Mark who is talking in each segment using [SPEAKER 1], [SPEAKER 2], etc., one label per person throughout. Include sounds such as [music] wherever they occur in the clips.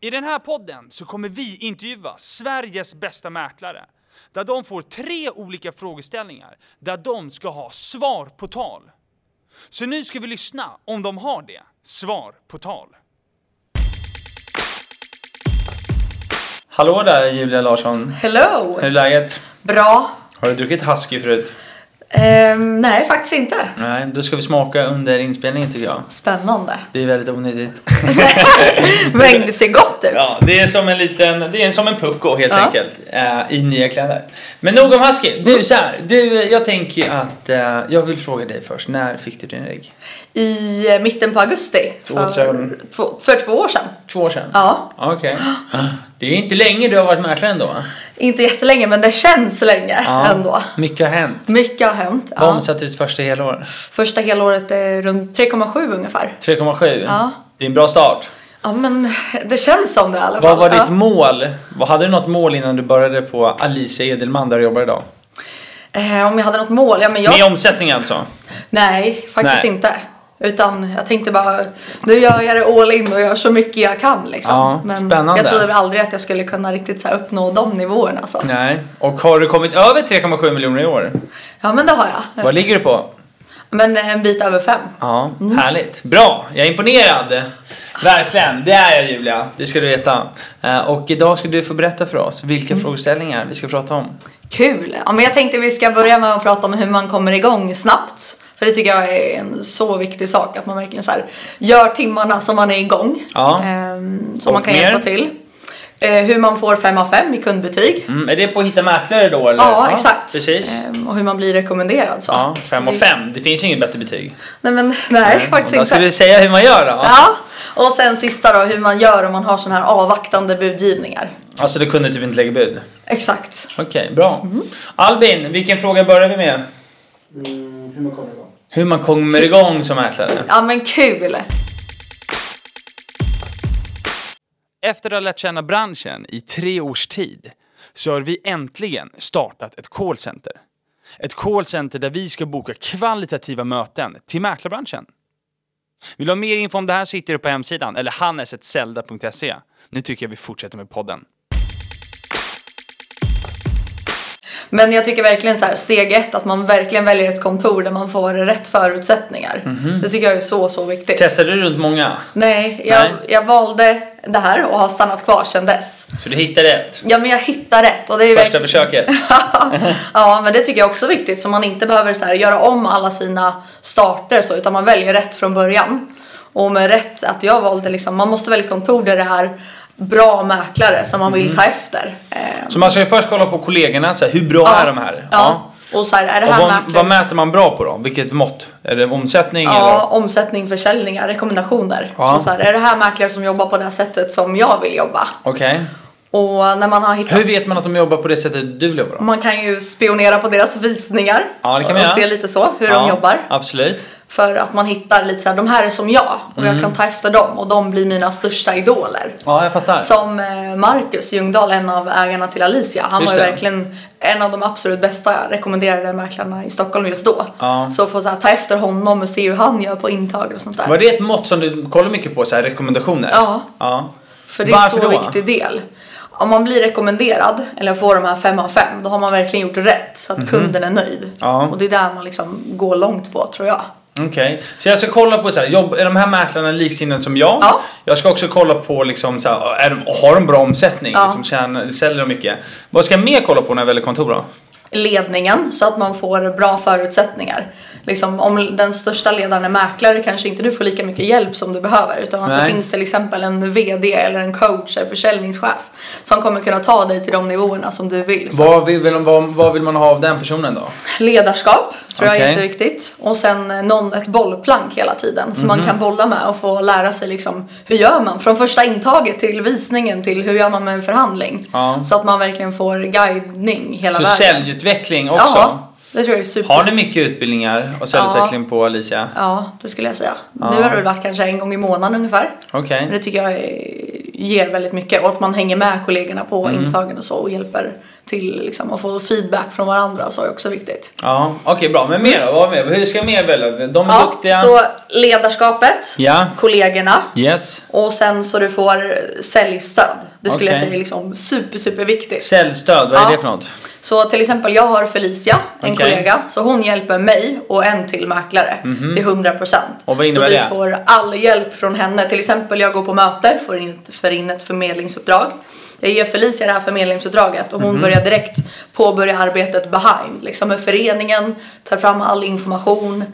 [SPEAKER 1] I den här podden så kommer vi intervjua Sveriges bästa mäklare. Där de får tre olika frågeställningar där de ska ha svar på tal. Så nu ska vi lyssna om de har det. Svar på tal.
[SPEAKER 2] Hallå där Julia Larsson.
[SPEAKER 3] Hello!
[SPEAKER 2] Hur är läget?
[SPEAKER 3] Bra.
[SPEAKER 2] Har du druckit husky förut?
[SPEAKER 3] Ehm, nej, faktiskt inte.
[SPEAKER 2] Nej, då ska vi smaka under inspelningen tycker jag.
[SPEAKER 3] Spännande.
[SPEAKER 2] Det är väldigt onyttigt.
[SPEAKER 3] Men det ser gott ut.
[SPEAKER 2] Ja, det är som en liten, det är som en pucko helt
[SPEAKER 3] Ja.
[SPEAKER 2] enkelt. eh, I nya kläder. Men nog om husky.
[SPEAKER 3] Mm.
[SPEAKER 2] Du så här, du, eh, jag tänker att eh, jag vill fråga dig först. När fick du din ägg?
[SPEAKER 3] I eh, mitten på augusti.
[SPEAKER 2] Två
[SPEAKER 3] för,
[SPEAKER 2] år sedan.
[SPEAKER 3] Två, för två år sedan.
[SPEAKER 2] Två år sedan?
[SPEAKER 3] Ja.
[SPEAKER 2] Okej. Det är inte länge du har varit mäklare ändå. va?
[SPEAKER 3] Inte jättelänge, men det känns länge ändå.
[SPEAKER 2] Mycket har hänt.
[SPEAKER 3] Mycket har hänt.
[SPEAKER 2] Vad
[SPEAKER 3] Ja.
[SPEAKER 2] omsatte du ditt första helår?
[SPEAKER 3] Första helåret är runt 3,7 ungefär.
[SPEAKER 2] 3,7?
[SPEAKER 3] Ja.
[SPEAKER 2] Det är en bra start.
[SPEAKER 3] Ja, men det känns som det i alla fall.
[SPEAKER 2] Vad var ditt
[SPEAKER 3] ja.
[SPEAKER 2] mål? Vad- Hade du något mål innan du började på Alicia Edelman där du jobbar idag?
[SPEAKER 3] Eh, Om jag hade något mål? Ja, men jag...
[SPEAKER 2] Med omsättning alltså?
[SPEAKER 3] Nej, faktiskt
[SPEAKER 2] Nej.
[SPEAKER 3] inte. Utan jag tänkte bara, nu gör jag det all in och gör så mycket jag kan liksom.
[SPEAKER 2] Ja,
[SPEAKER 3] Men
[SPEAKER 2] spännande.
[SPEAKER 3] jag trodde väl aldrig att jag skulle kunna riktigt så här uppnå de nivåerna. Så.
[SPEAKER 2] Nej. Och har du kommit över 3,7 miljoner i år?
[SPEAKER 3] Ja, men det har jag.
[SPEAKER 2] Vad ligger du på?
[SPEAKER 3] Men en bit över fem.
[SPEAKER 2] Ja,
[SPEAKER 3] Mm.
[SPEAKER 2] härligt. Bra, jag är imponerad. Verkligen, det är jag Julia. Det ska du veta. Eh, Och idag ska du få berätta för oss vilka
[SPEAKER 3] Mm.
[SPEAKER 2] frågeställningar vi ska prata om.
[SPEAKER 3] Kul! Ja, men jag tänkte vi ska börja med att prata om hur man kommer igång snabbt. För det tycker jag är en så viktig sak, att man verkligen så här, gör timmarna som man är igång.
[SPEAKER 2] Ja.
[SPEAKER 3] Ehm, som
[SPEAKER 2] Och
[SPEAKER 3] man kan
[SPEAKER 2] mer?
[SPEAKER 3] hjälpa till. Eh, hur man får fem av fem i kundbetyg.
[SPEAKER 2] Mm, är det på att hitta mäklare då eller?
[SPEAKER 3] Ja, exakt.
[SPEAKER 2] Precis.
[SPEAKER 3] Ehm, och hur man blir rekommenderad. Så.
[SPEAKER 2] Ja, fem och fem. Det finns ju inget bättre betyg.
[SPEAKER 3] Nej, men, nej, faktiskt
[SPEAKER 2] Då
[SPEAKER 3] inte.
[SPEAKER 2] ska du säga hur man gör då.
[SPEAKER 3] Ja, och sen sista då hur man gör om man har sådana här avvaktande budgivningar.
[SPEAKER 2] Alltså du kunde typ inte lägga bud.
[SPEAKER 3] Exakt.
[SPEAKER 2] Okej, bra.
[SPEAKER 3] Mm.
[SPEAKER 2] Albin, vilken fråga börjar vi med?
[SPEAKER 4] Mm, hur man kommer igång.
[SPEAKER 2] Hur man kommer igång som mäklare?
[SPEAKER 3] Ja men kul!
[SPEAKER 1] Efter att ha lärt känna branschen i tre års tid så har vi äntligen startat ett callcenter. Ett callcenter där vi ska boka kvalitativa möten till mäklarbranschen. Vill du ha mer info om det här sitter du på hemsidan eller hannesetzelda.se. Nu tycker jag vi fortsätter med podden.
[SPEAKER 3] Men jag tycker verkligen så här, steg ett att man verkligen väljer ett kontor där man får rätt förutsättningar.
[SPEAKER 2] Mhm.
[SPEAKER 3] Det tycker jag är så, så viktigt.
[SPEAKER 2] Testade du runt många?
[SPEAKER 3] Nej, jag,
[SPEAKER 2] Nej.
[SPEAKER 3] jag valde det här och har stannat kvar sedan dess.
[SPEAKER 2] Så du hittade ett?
[SPEAKER 3] Ja men jag hittar rätt och det är ju
[SPEAKER 2] Första
[SPEAKER 3] verkligen-
[SPEAKER 2] försöket?
[SPEAKER 3] ja, men det tycker jag också är viktigt. Så man inte behöver så här, göra om alla sina starter så, utan man väljer rätt från början. Och med rätt, att jag valde liksom, man måste välja ett kontor där det är bra mäklare som man vill ta
[SPEAKER 2] Mm.
[SPEAKER 3] efter. Eh,
[SPEAKER 2] Så man ska ju först kolla på kollegorna, så här, hur bra
[SPEAKER 3] ja,
[SPEAKER 2] är de här?
[SPEAKER 3] Ja. Och så här, är det
[SPEAKER 2] Och
[SPEAKER 3] här
[SPEAKER 2] vad, vad
[SPEAKER 3] mäklare?
[SPEAKER 2] mäter man bra på då? Vilket mått? Är det omsättning
[SPEAKER 3] Ja,
[SPEAKER 2] eller?
[SPEAKER 3] omsättning, försäljningar, rekommendationer.
[SPEAKER 2] Ja.
[SPEAKER 3] Och så här, är det här mäklare som jobbar på det här sättet som jag vill jobba?
[SPEAKER 2] Okej.
[SPEAKER 3] Och när man har hittat
[SPEAKER 2] Hur vet man att de jobbar på det sättet du vill jobba då?
[SPEAKER 3] man kan ju spionera på deras visningar
[SPEAKER 2] Ja, det kan man
[SPEAKER 3] och
[SPEAKER 2] göra.
[SPEAKER 3] se lite så, hur
[SPEAKER 2] Ja,
[SPEAKER 3] de jobbar.
[SPEAKER 2] Absolut.
[SPEAKER 3] För att man hittar lite så här, de här är som jag och jag kan ta efter dem och de blir mina största idoler.
[SPEAKER 2] Ja, jag fattar.
[SPEAKER 3] Som eh, Marcus Ljungdahl, en av ägarna till Alicia. Han
[SPEAKER 2] Just
[SPEAKER 3] var ju
[SPEAKER 2] det.
[SPEAKER 3] verkligen en av de absolut bästa rekommenderade mäklarna i Stockholm just då.
[SPEAKER 2] Ja.
[SPEAKER 3] Så få så här, ta efter honom och se hur han gör på intag och sånt där.
[SPEAKER 2] Var det ett mått som du kollar mycket på? Så här, rekommendationer?
[SPEAKER 3] Ja.
[SPEAKER 2] ja.
[SPEAKER 3] För det är
[SPEAKER 2] Varför
[SPEAKER 3] en så
[SPEAKER 2] då?
[SPEAKER 3] viktig del. Om man blir rekommenderad eller får de här fem av fem, då har man verkligen gjort rätt så att kunden är nöjd.
[SPEAKER 2] Mhm. Ja.
[SPEAKER 3] Och det är där man liksom går långt på tror jag.
[SPEAKER 2] Okej, så jag ska kolla på så här, jobb, är de här mäklarna liksinnade som jag?
[SPEAKER 3] Ja.
[SPEAKER 2] Jag ska också kolla på liksom så här, är de, har de bra omsättning?
[SPEAKER 3] Ja.
[SPEAKER 2] Liksom, tjänar, säljer de mycket? Vad ska jag mer kolla på när jag väljer kontor då?
[SPEAKER 3] ledningen så att man får bra förutsättningar. Liksom, om den största ledaren är mäklare kanske inte du får lika mycket hjälp som du behöver utan att
[SPEAKER 2] Nej.
[SPEAKER 3] det finns till exempel en VD eller en coach eller försäljningschef som kommer kunna ta dig till de nivåerna som du vill. Så
[SPEAKER 2] Vad vill, vill, vad, vad vill man ha av den personen då?
[SPEAKER 3] ledarskap tror jag
[SPEAKER 2] Okej.
[SPEAKER 3] är jätteviktigt och sen eh, någon, ett bollplank hela tiden som
[SPEAKER 2] Mhm.
[SPEAKER 3] man kan bolla med och få lära sig liksom, hur gör man från första intaget till visningen till hur gör man med en förhandling
[SPEAKER 2] Ja.
[SPEAKER 3] så att man verkligen får guidning hela
[SPEAKER 2] Så
[SPEAKER 3] vägen.
[SPEAKER 2] säljutveckling också?
[SPEAKER 3] Ja, det tror jag är super.
[SPEAKER 2] Har ni mycket utbildningar och säljutveckling på Alicia?
[SPEAKER 3] Ja, det skulle jag säga. Nu har det väl varit kanske en gång i månaden ungefär.
[SPEAKER 2] Okej.
[SPEAKER 3] Men det tycker jag är ger väldigt mycket och att man hänger med kollegorna på
[SPEAKER 2] Mm.
[SPEAKER 3] intagen och så och hjälper till liksom, och får feedback från varandra och så är också viktigt.
[SPEAKER 2] Ja, okej bra. Men mer då? Vad mer? Hur ska mer välja? De är
[SPEAKER 3] Ja,
[SPEAKER 2] duktiga.
[SPEAKER 3] så ledarskapet,
[SPEAKER 2] Ja.
[SPEAKER 3] kollegorna
[SPEAKER 2] Yes.
[SPEAKER 3] och sen så du får säljstöd. Det skulle
[SPEAKER 2] Okej.
[SPEAKER 3] jag säga är liksom super, super viktigt.
[SPEAKER 2] Säljstöd, vad är
[SPEAKER 3] Ja.
[SPEAKER 2] det för något?
[SPEAKER 3] Så till exempel jag har Felicia, en
[SPEAKER 2] Okej.
[SPEAKER 3] kollega, så hon hjälper mig och en till mäklare till 100%.
[SPEAKER 2] Mhm. Och vad innebär
[SPEAKER 3] så vi
[SPEAKER 2] det?
[SPEAKER 3] får all hjälp från henne. Till exempel jag går på möte, får in, för in ett förmedlingsuppdrag. Jag ger Felicia det här förmedlingsuppdraget och hon
[SPEAKER 2] Mhm.
[SPEAKER 3] börjar direkt påbörja arbetet behind. Liksom med föreningen, tar fram all information,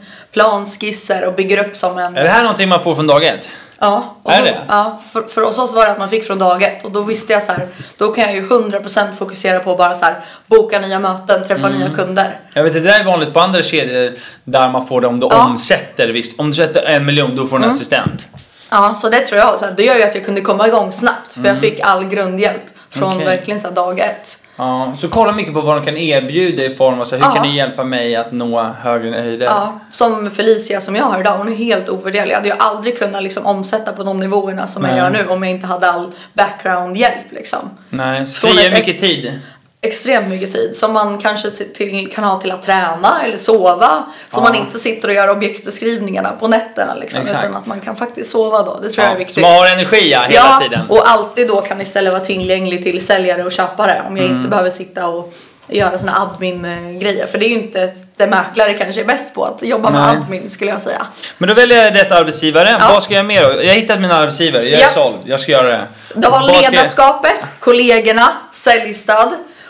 [SPEAKER 3] planskisser och bygger upp som en...
[SPEAKER 2] Är det här någonting man får från dag ett?
[SPEAKER 3] Ja, och
[SPEAKER 2] Är
[SPEAKER 3] så,
[SPEAKER 2] det?
[SPEAKER 3] ja för, för hos oss var det att man fick från dag ett och då visste jag så här, då kan jag ju 100% fokusera på bara så här, boka nya möten, träffa
[SPEAKER 2] Mm.
[SPEAKER 3] nya kunder.
[SPEAKER 2] Jag vet, det där är vanligt på andra kedjor där man får det om du
[SPEAKER 3] Ja. Mm.
[SPEAKER 2] omsätter visst. Om du sätter en miljon då får du en assistent.
[SPEAKER 3] Ja, så det tror jag. Så här, det gör ju att jag kunde komma igång snabbt för jag fick all grundhjälp från
[SPEAKER 2] Mm. Okej.
[SPEAKER 3] verkligen så här, dag ett.
[SPEAKER 2] Ja, så kolla mycket på vad de kan erbjuda i form av så här, hur
[SPEAKER 3] Ja.
[SPEAKER 2] kan ni hjälpa mig att nå högre höjder?
[SPEAKER 3] Ja, som Felicia som jag har idag, hon är helt ovärderlig. Jag hade ju aldrig kunnat liksom, omsätta på de nivåerna som
[SPEAKER 2] Nej.
[SPEAKER 3] jag gör nu om jag inte hade all background-hjälp. Liksom.
[SPEAKER 2] Nej, så
[SPEAKER 3] Från
[SPEAKER 2] frigör
[SPEAKER 3] ett-
[SPEAKER 2] mycket tid.
[SPEAKER 3] extremt mycket tid som man kanske se- till, kan ha till att träna eller sova. Så man inte sitter och gör objektsbeskrivningarna på nätterna liksom,
[SPEAKER 2] Exakt.
[SPEAKER 3] utan att man kan faktiskt sova då. Det tror jag är
[SPEAKER 2] Ja, så
[SPEAKER 3] viktigt.
[SPEAKER 2] man har energi ja, hela
[SPEAKER 3] ja,
[SPEAKER 2] tiden.
[SPEAKER 3] och alltid då kan istället vara tillgänglig till säljare och köpare om jag
[SPEAKER 2] Mm.
[SPEAKER 3] inte behöver sitta och göra såna admin-grejer. För det är ju inte det mäklare kanske är bäst på att jobba med
[SPEAKER 2] Nej.
[SPEAKER 3] admin skulle jag säga.
[SPEAKER 2] Men då väljer jag rätt arbetsgivare.
[SPEAKER 3] Ja.
[SPEAKER 2] Vad ska jag mer då? Jag har hittat mina arbetsgivare. Jag är
[SPEAKER 3] Ja.
[SPEAKER 2] såld. Jag ska göra det.
[SPEAKER 3] Du
[SPEAKER 2] Vad ska
[SPEAKER 3] har
[SPEAKER 2] jag-
[SPEAKER 3] ledarskapet, kollegorna, säljstöd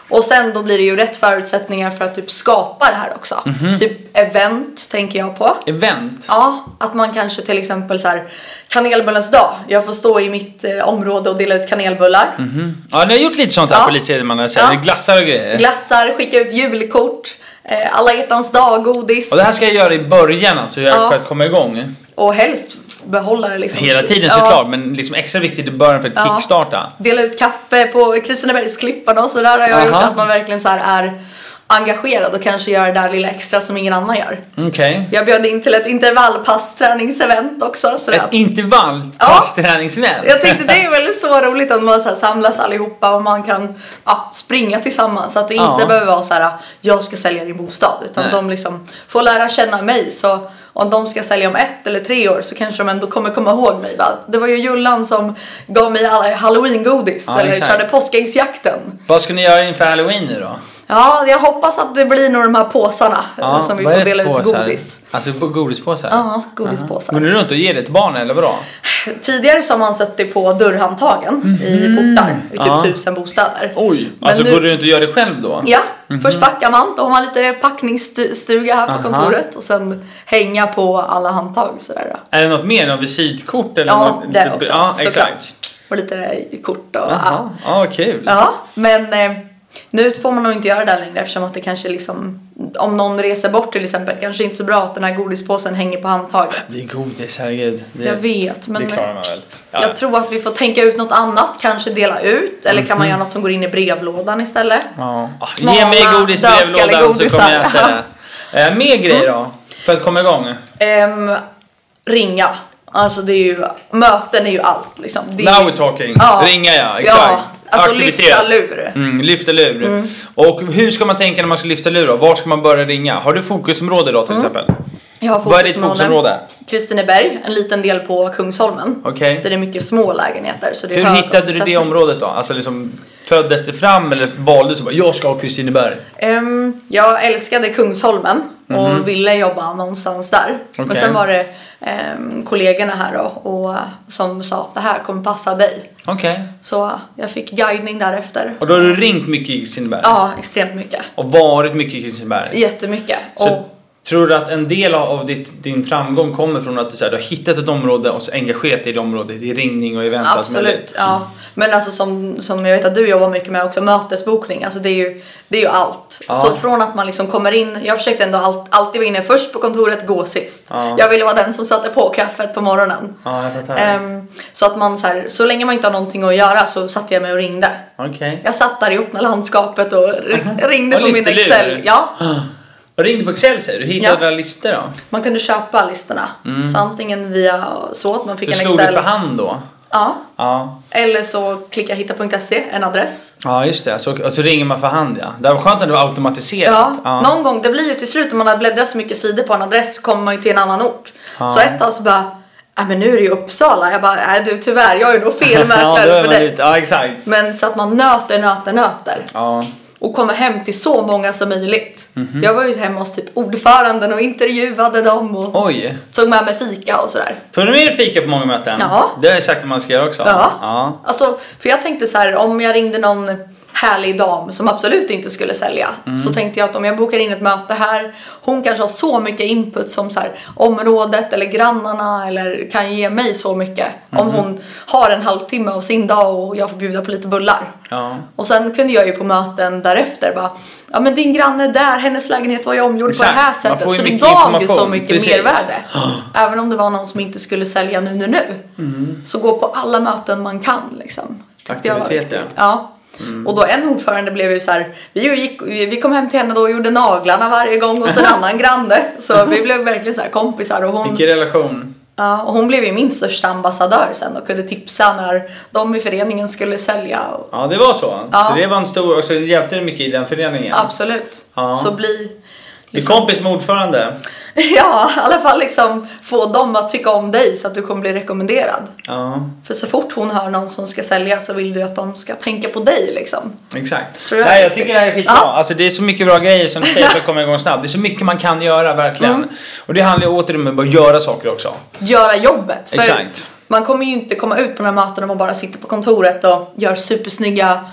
[SPEAKER 3] och sen då blir det ju rätt förutsättningar för att typ skapa det här också.
[SPEAKER 2] Mhm.
[SPEAKER 3] Typ event tänker jag på.
[SPEAKER 2] Event?
[SPEAKER 3] Ja, att man kanske till exempel så här kanelbullens dag. Jag får stå i mitt eh, område och dela ut kanelbullar.
[SPEAKER 2] Mhm. Mm. Ja, ni har gjort lite sånt här
[SPEAKER 3] Ja.
[SPEAKER 2] på Elitserien. Man har sett
[SPEAKER 3] Ja.
[SPEAKER 2] glassar och grejer.
[SPEAKER 3] Glassar, skicka ut julkort, eh, alla hjärtans dag, godis.
[SPEAKER 2] och det här ska jag göra i början alltså, jag-
[SPEAKER 3] Ja.
[SPEAKER 2] för att komma igång.
[SPEAKER 3] Och helst behålla det liksom.
[SPEAKER 2] Hela tiden
[SPEAKER 3] Ja.
[SPEAKER 2] såklart, men liksom extra viktigt i början för att
[SPEAKER 3] Ja.
[SPEAKER 2] kickstarta.
[SPEAKER 3] dela ut kaffe på Kristinebergsklippan och sådär har jag gjort
[SPEAKER 2] Aha.
[SPEAKER 3] att man verkligen så här är engagerad och kanske gör det där lilla extra som ingen annan gör.
[SPEAKER 2] Okej.
[SPEAKER 3] Jag bjöd in till ett intervallpassträningsevent också. Så
[SPEAKER 2] Ett
[SPEAKER 3] att
[SPEAKER 2] intervall
[SPEAKER 3] Ja.
[SPEAKER 2] passträningsevent.
[SPEAKER 3] jag tänkte det är väl så roligt att man så här samlas allihopa och man kan ja, springa tillsammans. Så att det inte
[SPEAKER 2] Ja.
[SPEAKER 3] behöver vara så här jag ska sälja din bostad. Utan
[SPEAKER 2] Nej.
[SPEAKER 3] de liksom får lära känna mig. Så om de ska sälja om ett eller tre år så kanske de ändå kommer komma ihåg mig. Va? Det var ju Jullan som gav mig alla halloweengodis
[SPEAKER 2] Ja,
[SPEAKER 3] eller
[SPEAKER 2] exakt.
[SPEAKER 3] körde påskäggsjakten.
[SPEAKER 2] Vad ska ni göra inför halloween nu då?
[SPEAKER 3] Ja, jag hoppas att det blir nog de här påsarna eh, som vi
[SPEAKER 2] vad är
[SPEAKER 3] får
[SPEAKER 2] det
[SPEAKER 3] dela
[SPEAKER 2] för
[SPEAKER 3] ut
[SPEAKER 2] påsar?
[SPEAKER 3] godis.
[SPEAKER 2] Alltså på godispåsar?
[SPEAKER 3] Ja, godispåsar.
[SPEAKER 2] Går ni runt och ger det till barnen eller vadå?
[SPEAKER 3] Tidigare så har man sett det på dörrhandtagen i portar i typ
[SPEAKER 2] Mhm. Ja.
[SPEAKER 3] tusen bostäder.
[SPEAKER 2] Oj!
[SPEAKER 3] Men
[SPEAKER 2] alltså
[SPEAKER 3] nu-
[SPEAKER 2] går du runt och gör det själv då?
[SPEAKER 3] Ja, först packar man, då har man lite packningsstuga här på
[SPEAKER 2] Mhm. Aha.
[SPEAKER 3] kontoret och sen hänga på alla handtag sådär. då.
[SPEAKER 2] Är det något mer? Något visitkort eller
[SPEAKER 3] Ja,
[SPEAKER 2] något? typ-
[SPEAKER 3] det också
[SPEAKER 2] Ja,
[SPEAKER 3] såklart.
[SPEAKER 2] exakt.
[SPEAKER 3] Och lite kort och
[SPEAKER 2] Jaha,
[SPEAKER 3] ja.
[SPEAKER 2] ja vad kul.
[SPEAKER 3] ja. Men eh, nu får man nog inte göra det där längre eftersom att det kanske liksom om någon reser bort till exempel kanske inte så bra att den här godispåsen hänger på handtaget.
[SPEAKER 2] Det är godis, herregud. Det,
[SPEAKER 3] Jag vet men
[SPEAKER 2] det klarar man väl? Ja.
[SPEAKER 3] jag tror att vi får tänka ut något annat, kanske dela ut eller kan man göra något som går in i brevlådan istället.
[SPEAKER 2] Mhm. Ja.
[SPEAKER 3] Ah, Smala,
[SPEAKER 2] Ge mig godis i brevlådan så
[SPEAKER 3] dödskallegodisar.
[SPEAKER 2] kommer jag äta det. Eh, mer grejer då? För att komma igång?
[SPEAKER 3] Ehm, ringa. Alltså det är ju, möten är ju allt liksom. Det är,
[SPEAKER 2] Now we're talking.
[SPEAKER 3] Ja.
[SPEAKER 2] [laughs] Ringa ja, exakt.
[SPEAKER 3] Ja, alltså lyfta lur.
[SPEAKER 2] Mm, lyfta lur. Och hur ska man tänka när man ska lyfta lur då? Var ska man börja ringa? Har du fokusområde då
[SPEAKER 3] Mm.
[SPEAKER 2] till exempel?
[SPEAKER 3] Jag har
[SPEAKER 2] Vad är ditt fokusområde?
[SPEAKER 3] Kristineberg, en liten del på Kungsholmen.
[SPEAKER 2] Okej.
[SPEAKER 3] Där det är mycket små lägenheter. Så det är
[SPEAKER 2] Hur
[SPEAKER 3] hög
[SPEAKER 2] hittade du det
[SPEAKER 3] omsättning.
[SPEAKER 2] området då? Alltså liksom föddes det fram eller valdes du bara jag ska ha Kristineberg?
[SPEAKER 3] Ehm, jag älskade Kungsholmen och ville jobba någonstans där. Men
[SPEAKER 2] Mhm. Okej.
[SPEAKER 3] sen var det ehm, kollegorna här då, och, som sa att det här kommer passa dig.
[SPEAKER 2] Okej.
[SPEAKER 3] Så jag fick guidning därefter.
[SPEAKER 2] Och då har du ringt mycket i Kristineberg?
[SPEAKER 3] Ja, extremt mycket.
[SPEAKER 2] Och varit mycket i Kristineberg?
[SPEAKER 3] Jättemycket.
[SPEAKER 2] Så
[SPEAKER 3] och,
[SPEAKER 2] tror du att en del av ditt, din framgång kommer från att du, så här, du har hittat ett område och så engagerat dig i det området i ringning och event? och allt möjligt? Mm.
[SPEAKER 3] Absolut, ja. Men alltså som, som jag vet att du jobbar mycket med också, mötesbokning. Alltså det är ju, det är ju allt.
[SPEAKER 2] Ja.
[SPEAKER 3] Så från att man liksom kommer in, jag försökte ändå allt, alltid vara inne först på kontoret, gå sist.
[SPEAKER 2] Ja.
[SPEAKER 3] Jag ville vara den som satte på kaffet på morgonen.
[SPEAKER 2] Ja, jag fattar.
[SPEAKER 3] Ehm, så att man så här, så länge man inte har någonting att göra så satte jag mig och ringde.
[SPEAKER 2] Okej.
[SPEAKER 3] Jag satt där i öppna landskapet och
[SPEAKER 2] [laughs]
[SPEAKER 3] ri- ringde
[SPEAKER 2] Och
[SPEAKER 3] på min
[SPEAKER 2] lyfte lur.
[SPEAKER 3] Excel. Ja,
[SPEAKER 2] Och ringde på Excel säger du? Hittade
[SPEAKER 3] Ja.
[SPEAKER 2] några listor då?
[SPEAKER 3] man kunde köpa listorna. Så antingen via så att man fick
[SPEAKER 2] Mm. Hur
[SPEAKER 3] en
[SPEAKER 2] slog
[SPEAKER 3] Excel.
[SPEAKER 2] du för hand då?
[SPEAKER 3] Ja.
[SPEAKER 2] Ja,
[SPEAKER 3] Eller så klicka hitta.se, E, en adress.
[SPEAKER 2] ja just det. Så, och så ringer man för hand ja. Det var skönt att det var
[SPEAKER 3] Ja,
[SPEAKER 2] automatiserat.
[SPEAKER 3] någon gång. Det blir ju till slut om man har bläddrat så mycket sidor på en adress så kommer man ju till en annan ort. Så ett tag så bara, nej men nu är det ju Uppsala. Jag bara, nej du tyvärr, jag är nog
[SPEAKER 2] [laughs]
[SPEAKER 3] fel
[SPEAKER 2] ja,
[SPEAKER 3] mäklare
[SPEAKER 2] då är
[SPEAKER 3] för
[SPEAKER 2] man
[SPEAKER 3] dig.
[SPEAKER 2] lite, ja exakt.
[SPEAKER 3] Men så att man nöter, nöter, nöter.
[SPEAKER 2] Ja.
[SPEAKER 3] Och kommer hem till så många som möjligt.
[SPEAKER 2] Mhm.
[SPEAKER 3] Jag var ju hemma hos typ ordföranden och intervjuade dem och
[SPEAKER 2] Oj.
[SPEAKER 3] tog med mig fika och sådär.
[SPEAKER 2] Tog du med dig fika på många möten?
[SPEAKER 3] Ja.
[SPEAKER 2] Det har jag sagt att man ska göra också.
[SPEAKER 3] Ja.
[SPEAKER 2] ja.
[SPEAKER 3] Alltså, för jag tänkte så här, om jag ringde någon härlig dam som absolut inte skulle sälja
[SPEAKER 2] Mm.
[SPEAKER 3] så tänkte jag att om jag bokar in ett möte här, hon kanske har så mycket input som så här, området eller grannarna eller kan ge mig så mycket. Om
[SPEAKER 2] Mm.
[SPEAKER 3] hon har en halvtimme av sin dag och jag får bjuda på lite bullar.
[SPEAKER 2] Ja.
[SPEAKER 3] Och sen kunde jag ju på möten därefter bara, ja men din granne där, hennes lägenhet var ju omgjord på
[SPEAKER 2] Exakt.
[SPEAKER 3] det här
[SPEAKER 2] Man får
[SPEAKER 3] sättet.
[SPEAKER 2] ju
[SPEAKER 3] Så det
[SPEAKER 2] mycket
[SPEAKER 3] gav ju så
[SPEAKER 2] information.
[SPEAKER 3] mycket
[SPEAKER 2] Precis. [gasps]
[SPEAKER 3] mervärde. Även om det var någon som inte skulle sälja nu nu nu.
[SPEAKER 2] Mm.
[SPEAKER 3] Så gå på alla möten man kan liksom. Tyckte jag var
[SPEAKER 2] Aktiviteter.
[SPEAKER 3] viktigt. Ja.
[SPEAKER 2] Mm.
[SPEAKER 3] Och då en ordförande blev ju så här, vi, ju gick, vi vi kom hem till henne då och gjorde naglarna varje gång och
[SPEAKER 2] [laughs]
[SPEAKER 3] så en annan granne. Så vi blev verkligen så här kompisar och hon,
[SPEAKER 2] Vilken relation.
[SPEAKER 3] ja, och hon blev ju min största ambassadör sen och kunde tipsa när de i föreningen skulle sälja. Och,
[SPEAKER 2] Ja, det var så.
[SPEAKER 3] Ja.
[SPEAKER 2] Så det var en stor, och så hjälpte det mycket i den föreningen.
[SPEAKER 3] Absolut.
[SPEAKER 2] Ja.
[SPEAKER 3] Så bli [laughs]
[SPEAKER 2] Bli kompis med ordförande.
[SPEAKER 3] Ja, i alla fall liksom få dem att tycka om dig så att du kommer bli rekommenderad.
[SPEAKER 2] Ja,
[SPEAKER 3] För så fort hon hör någon som ska sälja så vill du att de ska tänka på dig liksom.
[SPEAKER 2] exakt.
[SPEAKER 3] Tror jag
[SPEAKER 2] Nej, jag
[SPEAKER 3] riktigt.
[SPEAKER 2] tycker det här är skitbra.
[SPEAKER 3] Ja.
[SPEAKER 2] Alltså, det är så mycket bra grejer som du säger för att komma igång snabbt. Det är så mycket man kan göra verkligen.
[SPEAKER 3] Mm.
[SPEAKER 2] Och det handlar ju återigen om att göra saker också.
[SPEAKER 3] Göra jobbet. För
[SPEAKER 2] Exakt.
[SPEAKER 3] Man kommer ju inte komma ut på de här mötena om man bara sitter på kontoret och gör supersnygga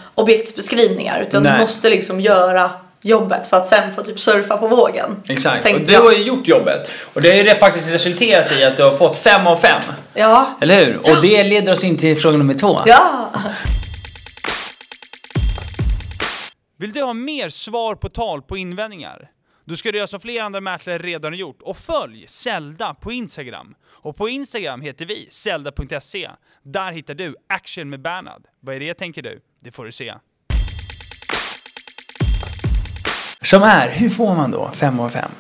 [SPEAKER 3] objektsbeskrivningar. Utan
[SPEAKER 2] Nej.
[SPEAKER 3] du måste liksom göra jobbet för att sen få typ surfa på vågen.
[SPEAKER 2] Exakt.
[SPEAKER 3] tänkte
[SPEAKER 2] Och du
[SPEAKER 3] jag.
[SPEAKER 2] har ju gjort jobbet. Och det har ju re- faktiskt resulterat i att du har fått fem av fem.
[SPEAKER 3] Ja.
[SPEAKER 2] Eller hur? Och det leder oss in till fråga nummer två.
[SPEAKER 3] Ja.
[SPEAKER 1] Vill du ha mer svar på tal på invändningar? Då ska du göra som flera andra mäklare redan har gjort och följ Zelda på Instagram. Och på Instagram heter vi zelda.se. Där hittar du action med Bernhard. Vad är det tänker du? Det får du se.
[SPEAKER 2] Som är, hur får man då fem av fem?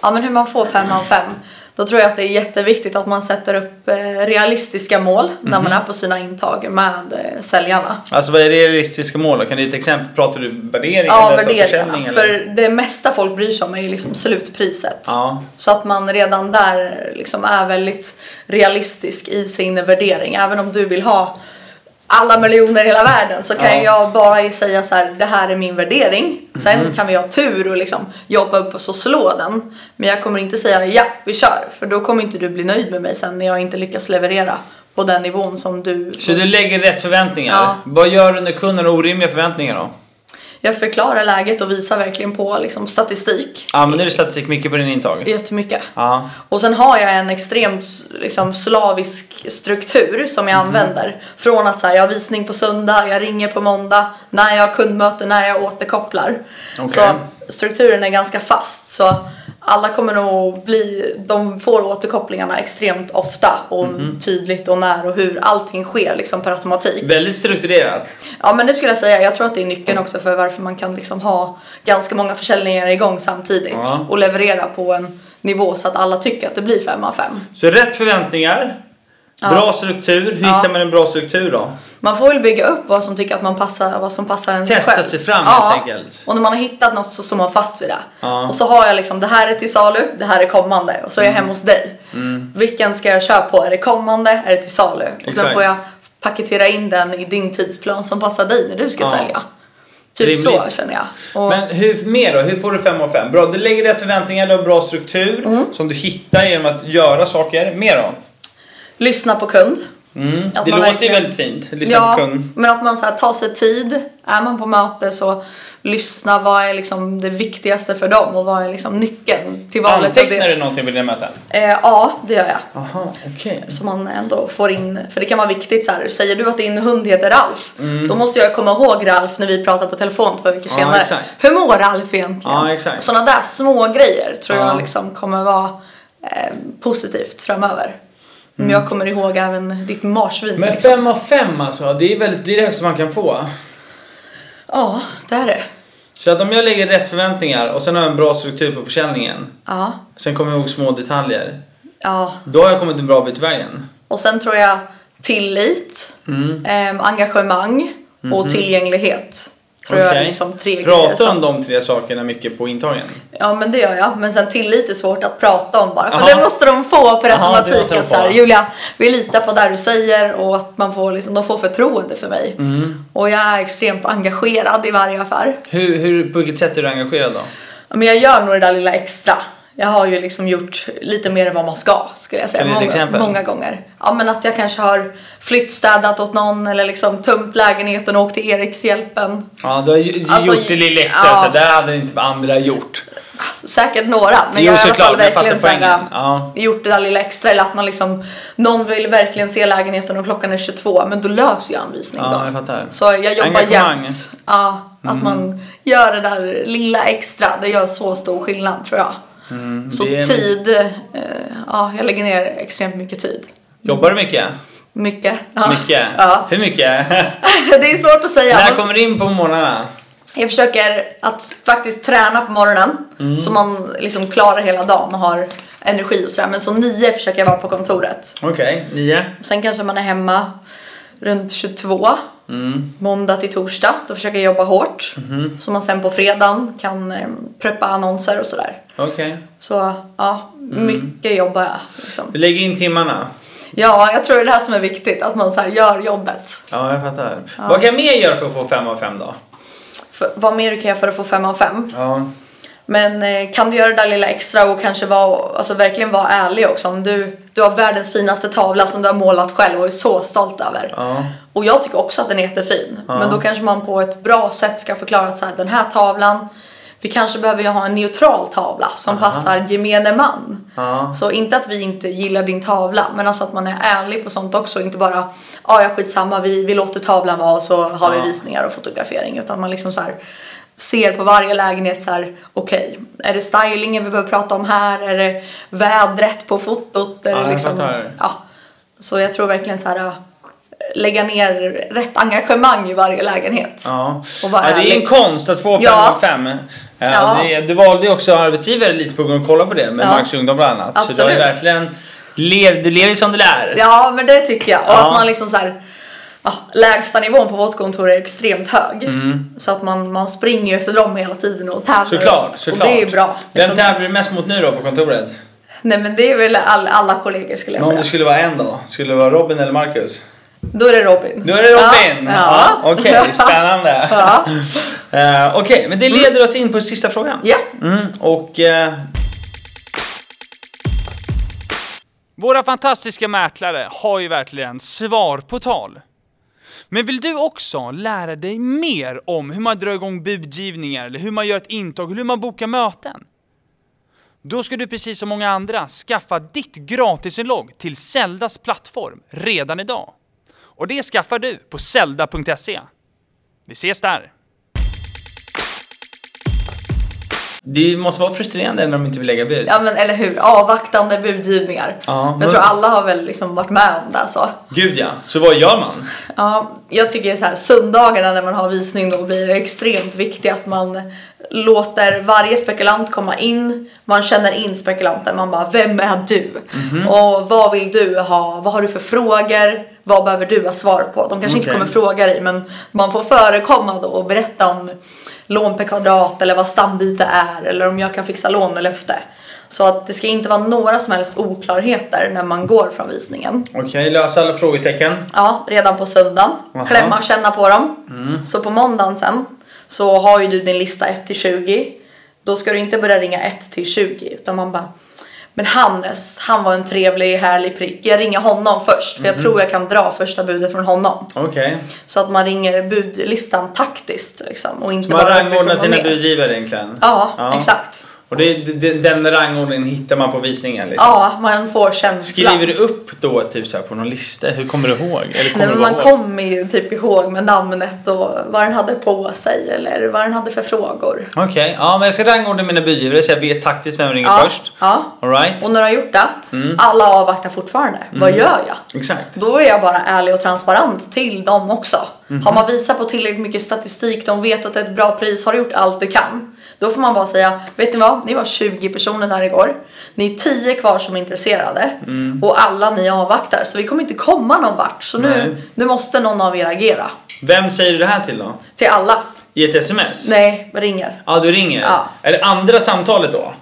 [SPEAKER 3] Ja men hur man får fem av fem. Då tror jag att det är jätteviktigt att man sätter upp eh, realistiska mål när man är på sina intag med eh, säljarna.
[SPEAKER 2] Alltså vad är realistiska mål då? Kan du ge ett exempel? Pratar du värdering
[SPEAKER 3] Ja,
[SPEAKER 2] eller så försäljning?
[SPEAKER 3] värderingarna.
[SPEAKER 2] Eller?
[SPEAKER 3] För det mesta folk bryr sig om är ju liksom slutpriset.
[SPEAKER 2] Ja.
[SPEAKER 3] Så att man redan där liksom är väldigt realistisk i sin värdering. Även om du vill ha alla miljoner i hela världen så kan
[SPEAKER 2] Ja.
[SPEAKER 3] jag bara säga så här, det här är min värdering. Sen
[SPEAKER 2] Mm.
[SPEAKER 3] kan vi ha tur och liksom jobba upp oss och slå den. Men jag kommer inte säga ja, vi kör. För då kommer inte du bli nöjd med mig sen när jag inte lyckas leverera på den nivån som du...
[SPEAKER 2] Så du lägger rätt förväntningar?
[SPEAKER 3] Ja.
[SPEAKER 2] Vad gör du när kunden har orimliga förväntningar då?
[SPEAKER 3] Jag förklarar läget och visar verkligen på liksom statistik.
[SPEAKER 2] Använder du statistik mycket på din intag?
[SPEAKER 3] Jättemycket.
[SPEAKER 2] Ja.
[SPEAKER 3] Och sen har jag en extremt liksom, slavisk struktur som jag använder. Från att så här, jag har visning på söndag, jag ringer på måndag, när jag har kundmöte, när jag återkopplar.
[SPEAKER 2] Okej.
[SPEAKER 3] Så strukturen är ganska fast. Så alla kommer nog bli, de får återkopplingarna extremt ofta och tydligt och när och hur. Allting sker liksom per automatik.
[SPEAKER 2] Väldigt strukturerat.
[SPEAKER 3] Ja men det skulle jag säga. Jag tror att det är nyckeln också för varför man kan liksom ha ganska många försäljningar igång samtidigt
[SPEAKER 2] Ja.
[SPEAKER 3] och leverera på en nivå så att alla tycker att det blir fem av fem.
[SPEAKER 2] Så rätt förväntningar,
[SPEAKER 3] Ja.
[SPEAKER 2] bra struktur. Hur
[SPEAKER 3] Ja.
[SPEAKER 2] hittar man en bra struktur då?
[SPEAKER 3] Man får väl bygga upp vad som tycker att man passar, vad som passar en
[SPEAKER 2] Testa
[SPEAKER 3] själv.
[SPEAKER 2] sig fram helt enkelt.
[SPEAKER 3] Och när man har hittat något så står man fast vid det.
[SPEAKER 2] Ja. Mm.
[SPEAKER 3] Och så har jag liksom, det här är till salu, det här är kommande och så är jag hemma hos dig. Vilken ska jag köra på? Är det kommande? Är det till salu? Och
[SPEAKER 2] Exakt.
[SPEAKER 3] sen får jag paketera in den i din tidsplan som passar dig när du ska
[SPEAKER 2] Ja.
[SPEAKER 3] sälja. Typ så
[SPEAKER 2] Rimligt.
[SPEAKER 3] känner jag. Och-
[SPEAKER 2] Men hur, mer då? Hur får du fem av fem? Bra, du lägger rätt förväntningar, du har en bra struktur
[SPEAKER 3] Mm.
[SPEAKER 2] som du hittar genom att göra saker. Mer då?
[SPEAKER 3] Lyssna på kund.
[SPEAKER 2] Mm.
[SPEAKER 3] Att
[SPEAKER 2] Det
[SPEAKER 3] man
[SPEAKER 2] låter ju
[SPEAKER 3] verkligen-
[SPEAKER 2] väldigt fint. Lyssna
[SPEAKER 3] ja,
[SPEAKER 2] på kund.
[SPEAKER 3] men att man så här, tar sig tid. Är man på möte så lyssna. Vad är liksom det viktigaste för dem och vad är liksom nyckeln till valet av
[SPEAKER 2] Antecknar
[SPEAKER 3] det?
[SPEAKER 2] du någonting vid det mötet?
[SPEAKER 3] Eh, ja, det gör jag.
[SPEAKER 2] Aha, okej.
[SPEAKER 3] Så man ändå får in, för det kan vara viktigt så här. Säger du att din hund heter Ralf, då måste jag komma ihåg Ralf när vi pratar på telefon två veckor
[SPEAKER 2] Mm. Ja,
[SPEAKER 3] senare.
[SPEAKER 2] exakt.
[SPEAKER 3] Hur mår Ralf egentligen?
[SPEAKER 2] Ja, exakt.
[SPEAKER 3] Sådana där små grejer tror
[SPEAKER 2] Ja.
[SPEAKER 3] jag liksom kommer vara eh, positivt framöver. Men jag kommer ihåg även ditt marsvin.
[SPEAKER 2] Mm. Men
[SPEAKER 3] liksom.
[SPEAKER 2] fem av fem alltså, det är, väldigt, det är det högsta man kan få.
[SPEAKER 3] Ja, det är det.
[SPEAKER 2] Så att om jag lägger rätt förväntningar och sen har jag en bra struktur på försäljningen.
[SPEAKER 3] Ja,
[SPEAKER 2] Sen kommer jag ihåg små detaljer.
[SPEAKER 3] ja.
[SPEAKER 2] Då har jag kommit en bra bit på vägen. Mm.
[SPEAKER 3] Och sen tror jag tillit, ehm, engagemang och tillgänglighet. Tror jag är
[SPEAKER 2] Mhm. Okej.
[SPEAKER 3] liksom tre grejer.
[SPEAKER 2] Prata
[SPEAKER 3] som-
[SPEAKER 2] om de tre sakerna mycket på intagningen.
[SPEAKER 3] Ja men det gör jag. Men sen tillit är svårt att prata om bara. För
[SPEAKER 2] Jaha.
[SPEAKER 3] det måste de få per
[SPEAKER 2] Jaha, det
[SPEAKER 3] automatik.
[SPEAKER 2] måste de
[SPEAKER 3] Att så här,
[SPEAKER 2] få.
[SPEAKER 3] Julia, vi litar på det du säger och att man får, liksom, de får förtroende för mig.
[SPEAKER 2] Mm.
[SPEAKER 3] Och jag är extremt engagerad i varje affär.
[SPEAKER 2] Hur, hur, på vilket sätt är du engagerad då?
[SPEAKER 3] Ja, Men jag gör nog det där lilla extra. Jag har ju liksom gjort lite mer än vad man ska skulle jag säga.
[SPEAKER 2] Kan du ge ett exempel?
[SPEAKER 3] många gånger. Ja men att jag kanske har flyttstädat åt någon eller liksom tömt lägenheten och åkt till Erikshjälpen.
[SPEAKER 2] Ja, du har ju,
[SPEAKER 3] Alltså,
[SPEAKER 2] gjort det lilla extra,
[SPEAKER 3] ja.
[SPEAKER 2] så där hade inte andra gjort.
[SPEAKER 3] Säkert några, men
[SPEAKER 2] Jo,
[SPEAKER 3] jag har i alla
[SPEAKER 2] såklart,
[SPEAKER 3] fall
[SPEAKER 2] men jag fattar
[SPEAKER 3] verkligen så här,
[SPEAKER 2] poängen. Ja.
[SPEAKER 3] gjort det där lilla extra. Eller att man liksom, någon vill verkligen se lägenheten och klockan är 22, men då löser jag anvisning
[SPEAKER 2] Ja, jag
[SPEAKER 3] då.
[SPEAKER 2] fattar.
[SPEAKER 3] Så jag jobbar
[SPEAKER 2] Engagemang. Mm.
[SPEAKER 3] jämt. Ja, att man gör det där lilla extra, det gör så stor skillnad tror jag. så
[SPEAKER 2] Mm, det är-
[SPEAKER 3] tid, eh, ja, jag lägger ner extremt mycket tid.
[SPEAKER 2] Jobbar du mycket?
[SPEAKER 3] Mycket. Ja.
[SPEAKER 2] Mycket?
[SPEAKER 3] Ja. [laughs]
[SPEAKER 2] Hur mycket? [laughs]
[SPEAKER 3] det är svårt att säga.
[SPEAKER 2] När
[SPEAKER 3] Man-
[SPEAKER 2] kommer du in på morgnarna?
[SPEAKER 3] Jag försöker att faktiskt träna på morgonen
[SPEAKER 2] Mm.
[SPEAKER 3] så man liksom klarar hela dagen och har energi och sådär. Men så nio försöker jag vara på kontoret.
[SPEAKER 2] Okej, nio.
[SPEAKER 3] Sen kanske man är hemma runt 22.
[SPEAKER 2] Mm.
[SPEAKER 3] Måndag till torsdag. Då försöker jag jobba hårt.
[SPEAKER 2] Mhm.
[SPEAKER 3] Så man sen på fredagen kan eh, preppa annonser och sådär.
[SPEAKER 2] Okej.
[SPEAKER 3] Så ja,
[SPEAKER 2] Mm.
[SPEAKER 3] mycket jobbar jag. Liksom.
[SPEAKER 2] Du lägger in timmarna.
[SPEAKER 3] Ja, jag tror det är det här som är viktigt. Att man så här gör jobbet.
[SPEAKER 2] Ja, jag fattar. Vad kan jag mer göra för att få fem av fem då?
[SPEAKER 3] För, vad mer kan jag för att få fem av fem?
[SPEAKER 2] Ja.
[SPEAKER 3] Men eh, kan du göra det där lilla extra och kanske vara, alltså verkligen vara ärlig också. Om du, du har världens finaste tavla som du har målat själv och är så stolt över.
[SPEAKER 2] Ja.
[SPEAKER 3] Och jag tycker också att den är jättefin. Men då kanske man på ett bra sätt ska förklara att så här, den här tavlan, vi kanske behöver ju ha en neutral tavla som passar gemene man.
[SPEAKER 2] Ja.
[SPEAKER 3] Så inte att vi inte gillar din tavla, men alltså att man är ärlig på sånt också. Inte bara, ja ja skitsamma, vi, vi låter tavlan vara och så har
[SPEAKER 2] Ja.
[SPEAKER 3] vi visningar och fotografering. Utan man liksom så här ser på varje lägenhet så här, okej, är det stylingen vi behöver prata om här? Är det vädret på fotot? Är
[SPEAKER 2] Ja, jag
[SPEAKER 3] det liksom,
[SPEAKER 2] fattar.
[SPEAKER 3] ja. Så jag tror verkligen så här, äh, lägga ner rätt engagemang i varje lägenhet.
[SPEAKER 2] Ja.
[SPEAKER 3] Och vara
[SPEAKER 2] ja, det är en
[SPEAKER 3] ärlig.
[SPEAKER 2] konst att få fem
[SPEAKER 3] Ja.
[SPEAKER 2] av fem. Eh,
[SPEAKER 3] Ja.
[SPEAKER 2] det- Du valde ju också arbetsgivare lite på grund av att kolla på det med
[SPEAKER 3] Ja.
[SPEAKER 2] Max Ungdom bland annat. Så du har ju
[SPEAKER 3] Absolut.
[SPEAKER 2] verkligen lev, du lever ju som du lär.
[SPEAKER 3] Ja, men det tycker jag. Och
[SPEAKER 2] Ja.
[SPEAKER 3] att man liksom så här, ja, lägsta nivån på vårt kontor är extremt hög. Så att man, man springer ju för dem hela tiden och tävlar.
[SPEAKER 2] Mm. Såklart, såklart.
[SPEAKER 3] Och det är ju bra.
[SPEAKER 2] Vem
[SPEAKER 3] Liksom.
[SPEAKER 2] tävlar du mest mot nu då på kontoret?
[SPEAKER 3] Nej men det är väl all, alla kollegor skulle jag
[SPEAKER 2] Men om det
[SPEAKER 3] säga.
[SPEAKER 2] skulle vara en då? Skulle det vara Robin eller Marcus?
[SPEAKER 3] Då är det Robin.
[SPEAKER 2] Då är det Robin!
[SPEAKER 3] Ja. ja.
[SPEAKER 2] Okej,
[SPEAKER 3] [laughs]
[SPEAKER 2] spännande.
[SPEAKER 3] Ja.
[SPEAKER 2] Eh, Okej, men det leder oss in på sista frågan.
[SPEAKER 3] ja.
[SPEAKER 2] Mm, och eh,
[SPEAKER 1] Våra fantastiska mäklare har ju verkligen svar på tal. Men vill du också lära dig mer om hur man drar igång budgivningar, eller hur man gör ett intag, eller hur man bokar möten? Då ska du precis som många andra skaffa ditt gratisinlogg till Zeldas plattform redan idag. Och det skaffar du på zelda.se. Vi ses där!
[SPEAKER 2] det måste vara frustrerande när de inte vill lägga bud.
[SPEAKER 3] ja men eller hur, avvaktande budgivningar.
[SPEAKER 2] Ja,
[SPEAKER 3] men...
[SPEAKER 2] men-
[SPEAKER 3] Jag tror alla har väl liksom varit med om det så.
[SPEAKER 2] Gud ja, så vad gör man?
[SPEAKER 3] Ja, jag tycker så här, söndagarna när man har visning då blir det extremt viktigt att man låter varje spekulant komma in. Man känner in spekulanten. Man bara, vem är du? Och vad vill du ha? Vad har du för frågor? Vad behöver du ha svar på? De kanske inte
[SPEAKER 2] Okej.
[SPEAKER 3] kommer fråga dig men man får förekomma då och berätta om lån per kvadrat eller vad stambyte är eller om jag kan fixa lånelöfte. Så att det ska inte vara några som helst oklarheter när man går från visningen.
[SPEAKER 2] Okej, lösa alla frågetecken.
[SPEAKER 3] Ja, redan på söndagen.
[SPEAKER 2] Jaha. Mm.
[SPEAKER 3] Klämma och känna på dem. Så på måndagen sen så har ju du din lista 1 till 20. Då ska du inte börja ringa 1 till 20 utan man bara men Hannes, han var en trevlig, härlig prick. Jag ringer honom först för jag
[SPEAKER 2] Mm.
[SPEAKER 3] tror jag kan dra första budet från honom.
[SPEAKER 2] Okej.
[SPEAKER 3] Så att man ringer budlistan taktiskt liksom och inte
[SPEAKER 2] Man
[SPEAKER 3] bara
[SPEAKER 2] rangordnar
[SPEAKER 3] uppifrån och
[SPEAKER 2] sina
[SPEAKER 3] ner.
[SPEAKER 2] budgivare egentligen.
[SPEAKER 3] Ja, exakt.
[SPEAKER 2] Och det, det, den rangordningen hittar man på visningen liksom.
[SPEAKER 3] Ja, man får känslan.
[SPEAKER 2] Skriver du upp då typ så här på någon lista? Hur kommer du ihåg? Eller kommer
[SPEAKER 3] Nej, men
[SPEAKER 2] du
[SPEAKER 3] man
[SPEAKER 2] bara ihåg?
[SPEAKER 3] kommer ju typ ihåg med namnet och vad den hade på sig eller vad den hade för frågor.
[SPEAKER 2] Okej, ja men jag ska rangordna mina budgivare så jag vet taktiskt vem jag ringer
[SPEAKER 3] Ja,
[SPEAKER 2] först. Mm.
[SPEAKER 3] ja.
[SPEAKER 2] Alright.
[SPEAKER 3] Och när du har gjort det, alla avvaktar fortfarande. Vad
[SPEAKER 2] Mm.
[SPEAKER 3] gör jag?
[SPEAKER 2] Exakt.
[SPEAKER 3] Då är jag bara ärlig och transparent till dem
[SPEAKER 2] Mhm.
[SPEAKER 3] också. Har man visat på tillräckligt mycket statistik, de vet att det är ett bra pris, har du gjort allt du kan. Då får man bara säga, vet ni vad? Ni var 20 personer där igår. Ni är 10 kvar som är intresserade.
[SPEAKER 2] Mm.
[SPEAKER 3] Och alla ni avvaktar. Så vi kommer inte komma någon vart. Så nu,
[SPEAKER 2] Nej.
[SPEAKER 3] nu måste någon av er agera.
[SPEAKER 2] Vem säger du det här till då?
[SPEAKER 3] Till alla.
[SPEAKER 2] I ett sms?
[SPEAKER 3] Nej, vi ringer.
[SPEAKER 2] Ja, du ringer?
[SPEAKER 3] Ja.
[SPEAKER 2] Är det andra samtalet då?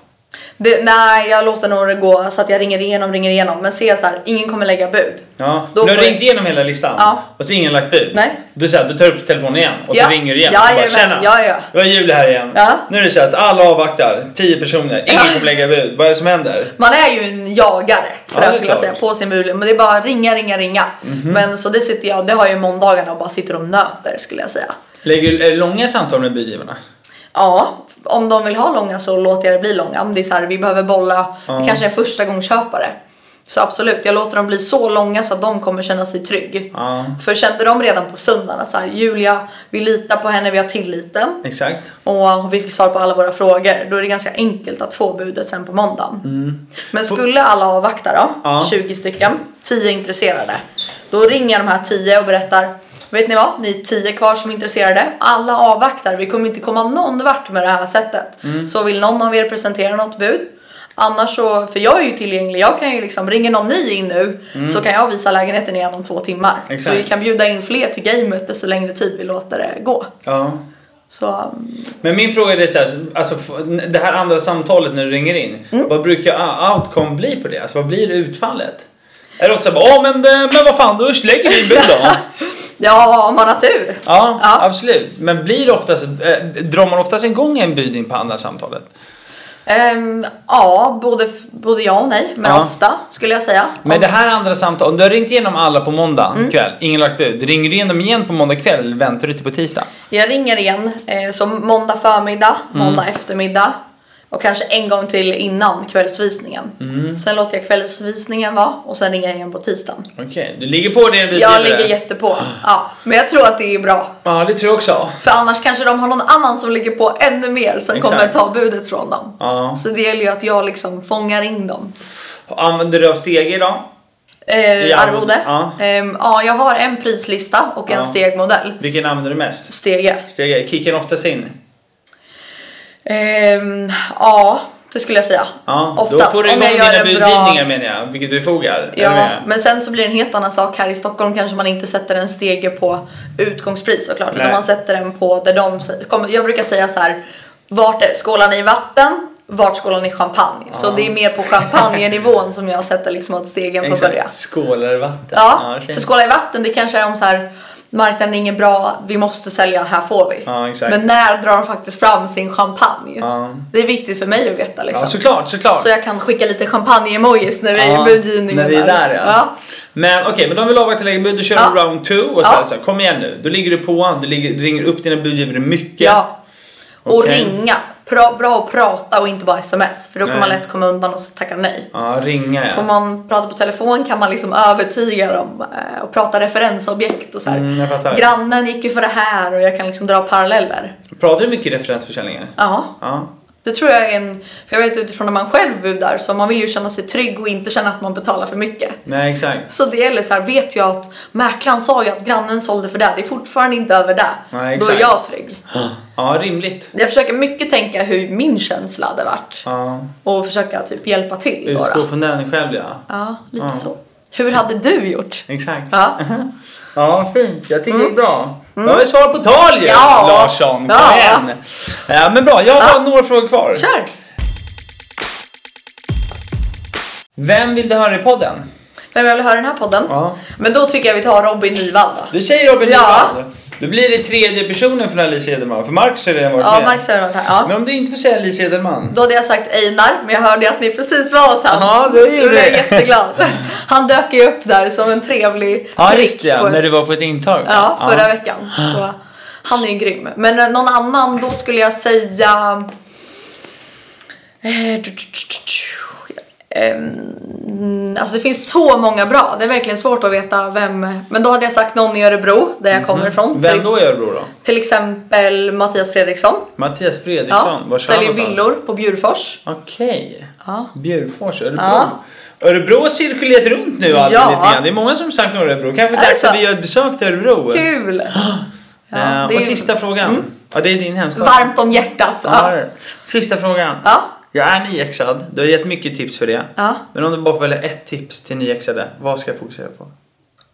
[SPEAKER 3] Det, nej, jag låter nog det gå så att jag ringer igenom, ringer igenom. Men ser jag så här, ingen kommer lägga bud.
[SPEAKER 2] Ja.
[SPEAKER 3] Då
[SPEAKER 2] du har
[SPEAKER 3] får-
[SPEAKER 2] ringt igenom hela listan
[SPEAKER 3] Ja.
[SPEAKER 2] och så ingen lagt bud?
[SPEAKER 3] Nej.
[SPEAKER 2] Du, så här, du tar upp telefonen igen och så
[SPEAKER 3] Ja.
[SPEAKER 2] ringer du igen
[SPEAKER 3] Ja,
[SPEAKER 2] och bara
[SPEAKER 3] jajamän.
[SPEAKER 2] tjena.
[SPEAKER 3] Ja, ja.
[SPEAKER 2] Det var jul här igen.
[SPEAKER 3] Ja.
[SPEAKER 2] Nu är det så här att alla avvaktar, 10 personer, ingen kommer lägga bud. Vad är det som händer?
[SPEAKER 3] Man är ju en jagare
[SPEAKER 2] Ja,
[SPEAKER 3] så
[SPEAKER 2] det är
[SPEAKER 3] skulle jag säga
[SPEAKER 2] klart. Mhm.
[SPEAKER 3] på sin mule. Men det är bara ringa, ringa, ringa. Men så det sitter jag, det har jag ju måndagarna och bara sitter och nöter skulle jag säga.
[SPEAKER 2] Lägger, är det långa samtal med budgivarna?
[SPEAKER 3] Ja, om de vill ha långa så låter jag det bli långa. Om det är så här, vi behöver bolla, det kanske är en första gångköpare. Så absolut, jag låter dem bli så långa så att de kommer känna sig trygg.
[SPEAKER 2] Ja.
[SPEAKER 3] För kände de redan på söndagen att så här, Julia, vi litar på henne, vi har tilliten.
[SPEAKER 2] Exakt.
[SPEAKER 3] och vi fick svar på alla våra frågor. Då är det ganska enkelt att få budet sen på måndagen. Men skulle alla avvakta då,
[SPEAKER 2] Mm. Ja.
[SPEAKER 3] 20 stycken, 10 intresserade. Då ringer jag de här 10 och berättar Vet ni vad? Ni är 10 kvar som är intresserade. Alla avvaktar. Vi kommer inte komma någon vart med det här sättet.
[SPEAKER 2] Mm.
[SPEAKER 3] Så vill någon av er presentera något bud? Annars så, för jag är ju tillgänglig. Jag kan ju liksom, ringer någon ny in nu så kan jag visa lägenheten igen om två timmar. Så
[SPEAKER 2] Mm. Exakt.
[SPEAKER 3] vi kan bjuda in fler till gamet desto längre tid vi låter det gå.
[SPEAKER 2] Ja.
[SPEAKER 3] Så um,
[SPEAKER 2] Men min fråga är så här, alltså, f- det här andra samtalet när du ringer in.
[SPEAKER 3] Mm.
[SPEAKER 2] Vad brukar outcome bli på det? Alltså, vad blir utfallet? Är det också såhär, men, eh, men vad fan, då lägger vi
[SPEAKER 3] [laughs]
[SPEAKER 2] bud då.
[SPEAKER 3] Ja, om man har tur.
[SPEAKER 2] Ja,
[SPEAKER 3] Ja.
[SPEAKER 2] absolut. Men blir det oftast, eh, drar man oftast igång en bud in på andra samtalet?
[SPEAKER 3] Ehm, ja, både, både ja och nej. Men
[SPEAKER 2] Ja.
[SPEAKER 3] ofta skulle jag säga.
[SPEAKER 2] Men det här andra samtalet, om du har ringt igenom alla på måndag
[SPEAKER 3] Mm.
[SPEAKER 2] kväll, ingen lagt bud. Ringer du igenom igen på måndag kväll eller väntar du till på tisdag?
[SPEAKER 3] Jag ringer igen eh, så måndag förmiddag,
[SPEAKER 2] Mm.
[SPEAKER 3] måndag eftermiddag och kanske en gång till innan kvällsvisningen.
[SPEAKER 2] Mm.
[SPEAKER 3] Sen låter jag kvällsvisningen vara och sen ringer jag igen på tisdagen.
[SPEAKER 2] Okej, du ligger på det budgivare?
[SPEAKER 3] Jag ligger jättepå. Ja, men jag tror att det är bra.
[SPEAKER 2] Ja, det tror jag också.
[SPEAKER 3] För annars kanske de har någon annan som ligger på ännu mer som
[SPEAKER 2] Exakt.
[SPEAKER 3] kommer ta budet från dem.
[SPEAKER 2] Ja.
[SPEAKER 3] Så det gäller ju att jag liksom fångar in dem.
[SPEAKER 2] Använder du av stege idag?
[SPEAKER 3] Eh,
[SPEAKER 2] Ja,
[SPEAKER 3] arvode?
[SPEAKER 2] ja.
[SPEAKER 3] Ehm, ja, jag har en prislista och en
[SPEAKER 2] Ja.
[SPEAKER 3] stegmodell.
[SPEAKER 2] Vilken använder du mest?
[SPEAKER 3] Stege.
[SPEAKER 2] Stege, kickar den oftast in?
[SPEAKER 3] Ehm, ja, det skulle jag säga.
[SPEAKER 2] Ja,
[SPEAKER 3] Oftast.
[SPEAKER 2] då får du
[SPEAKER 3] om jag
[SPEAKER 2] igång
[SPEAKER 3] gör
[SPEAKER 2] dina
[SPEAKER 3] en bra...
[SPEAKER 2] budgivningar menar jag, vilket du fogar.
[SPEAKER 3] Ja, men sen så blir det en helt annan sak. Här i Stockholm kanske man inte sätter en stege på utgångspris såklart. Utan
[SPEAKER 2] Nej.
[SPEAKER 3] man sätter den på där de... kommer- Jag brukar säga så här. Vart är, skålar ni i vatten? Vart skålar ni i champagne? Så det är mer på champagnenivån som jag sätter liksom att stegen får börja.
[SPEAKER 2] Exakt, skålar vatten.
[SPEAKER 3] Ja,
[SPEAKER 2] fint.
[SPEAKER 3] för skåla i vatten det kanske är om så här marknaden är ingen bra, vi måste sälja, här får vi.
[SPEAKER 2] Ja, exakt.
[SPEAKER 3] Men när drar de faktiskt fram sin champagne?
[SPEAKER 2] Ja.
[SPEAKER 3] Det är viktigt för mig att veta liksom.
[SPEAKER 2] Ja, såklart, såklart.
[SPEAKER 3] Så jag kan skicka lite champagne-emojis när vi är i budgivningen.
[SPEAKER 2] När vi är där ja.
[SPEAKER 3] ja.
[SPEAKER 2] Men okej, men de vill avvakta lägga bud, då kör
[SPEAKER 3] Ja.
[SPEAKER 2] du round two och
[SPEAKER 3] Ja.
[SPEAKER 2] så, här, så här, kom igen nu. Då ligger du på, du ligger, ringer upp dina budgivare mycket.
[SPEAKER 3] ja. Och
[SPEAKER 2] Okej.
[SPEAKER 3] ringa. Pra, bra att prata och inte bara sms för då kan
[SPEAKER 2] Nej.
[SPEAKER 3] man lätt komma undan och tacka nej.
[SPEAKER 2] Ja, ringa ja.
[SPEAKER 3] Får man prata på telefon kan man liksom övertyga dem eh, och prata referensobjekt och så här.
[SPEAKER 2] Mm, jag fattar.
[SPEAKER 3] Grannen gick ju för det här och jag kan liksom dra paralleller.
[SPEAKER 2] Pratar du mycket referensförsäljningar?
[SPEAKER 3] Ja.
[SPEAKER 2] Ja.
[SPEAKER 3] Det tror jag är en, för jag vet utifrån när man själv budar så man vill ju känna sig trygg och inte känna att man betalar för mycket.
[SPEAKER 2] Nej, exakt.
[SPEAKER 3] Så det gäller så här, vet jag att mäklaren sa ju att grannen sålde för det, det är fortfarande inte över det.
[SPEAKER 2] Nej,
[SPEAKER 3] Då är
[SPEAKER 2] exakt.
[SPEAKER 3] jag trygg.
[SPEAKER 2] Ja, rimligt.
[SPEAKER 3] Jag försöker mycket tänka hur min känsla hade varit
[SPEAKER 2] Ja.
[SPEAKER 3] och försöka typ hjälpa till
[SPEAKER 2] Utgå
[SPEAKER 3] bara.
[SPEAKER 2] från den själv ja.
[SPEAKER 3] Ja, lite
[SPEAKER 2] Ja.
[SPEAKER 3] så. Hur hade du gjort?
[SPEAKER 2] Exakt.
[SPEAKER 3] Ja.
[SPEAKER 2] Ja, fint. Jag tycker det är bra. Då har vi svar på tal ju,
[SPEAKER 3] Mm. Ja.
[SPEAKER 2] Larsson. Kom
[SPEAKER 3] Ja.
[SPEAKER 2] igen. Ja, men bra, jag har
[SPEAKER 3] Ja.
[SPEAKER 2] bara några frågor kvar.
[SPEAKER 3] Kör!
[SPEAKER 2] Vem vill du höra i podden?
[SPEAKER 3] Vem jag vill höra den här podden?
[SPEAKER 2] Ja.
[SPEAKER 3] Men då tycker jag vi tar Robin Nyvall då.
[SPEAKER 2] Du säger Robin
[SPEAKER 3] Ja.
[SPEAKER 2] Nyvall. Då blir det tredje personen från Alice Edelman, för Marcus har redan varit
[SPEAKER 3] Ja,
[SPEAKER 2] med.
[SPEAKER 3] Marcus har varit här. Ja.
[SPEAKER 2] Men om du inte får säga Alice Edelman.
[SPEAKER 3] Då hade jag sagt Einar, men jag hörde ju att ni precis var hos han.
[SPEAKER 2] Ja, det gjorde
[SPEAKER 3] Då blev jag
[SPEAKER 2] vi. [laughs]
[SPEAKER 3] jätteglad. Han dök ju upp där som en trevlig
[SPEAKER 2] Ja,
[SPEAKER 3] prick
[SPEAKER 2] riktigt ja,
[SPEAKER 3] på ett-
[SPEAKER 2] när du var på ett intag. Mm.
[SPEAKER 3] Ja, förra veckan. Så han är ju grym. Men eh, någon annan, då skulle jag säga... eh, tju, tju, tju, tju, tju. Ehm, Alltså det finns så många bra. Det är verkligen svårt att veta vem. Men då hade jag sagt någon i Örebro, där jag kommer ifrån.
[SPEAKER 2] Mhm. Vem
[SPEAKER 3] Till-
[SPEAKER 2] då i Örebro då?
[SPEAKER 3] Till exempel Mattias Fredriksson.
[SPEAKER 2] Mattias Fredriksson.
[SPEAKER 3] Ja,
[SPEAKER 2] Var kör han
[SPEAKER 3] säljer
[SPEAKER 2] någonstans?
[SPEAKER 3] villor på Bjurfors.
[SPEAKER 2] Okej.
[SPEAKER 3] Ja.
[SPEAKER 2] Bjurfors, Örebro.
[SPEAKER 3] Ja.
[SPEAKER 2] Örebro har cirkulerat runt nu alltid
[SPEAKER 3] Ja.
[SPEAKER 2] lite grann. Det är många som sagt några Örebro. Kanske
[SPEAKER 3] Är det
[SPEAKER 2] dags att [gasps]
[SPEAKER 3] så?
[SPEAKER 2] vi gör ett besök till Örebro.
[SPEAKER 3] Kul! Ja,
[SPEAKER 2] Eh,
[SPEAKER 3] det är
[SPEAKER 2] och
[SPEAKER 3] ju-
[SPEAKER 2] sista frågan. Ja, det är din hemstad.
[SPEAKER 3] Varmt om hjärtat.
[SPEAKER 2] Ja. det
[SPEAKER 3] Ja.
[SPEAKER 2] är det. Sista frågan.
[SPEAKER 3] Ja.
[SPEAKER 2] Jag är nyexad. Du har gett mycket tips för det.
[SPEAKER 3] Ja.
[SPEAKER 2] Men om du bara får välja ett tips till nyexade, vad ska jag fokusera på?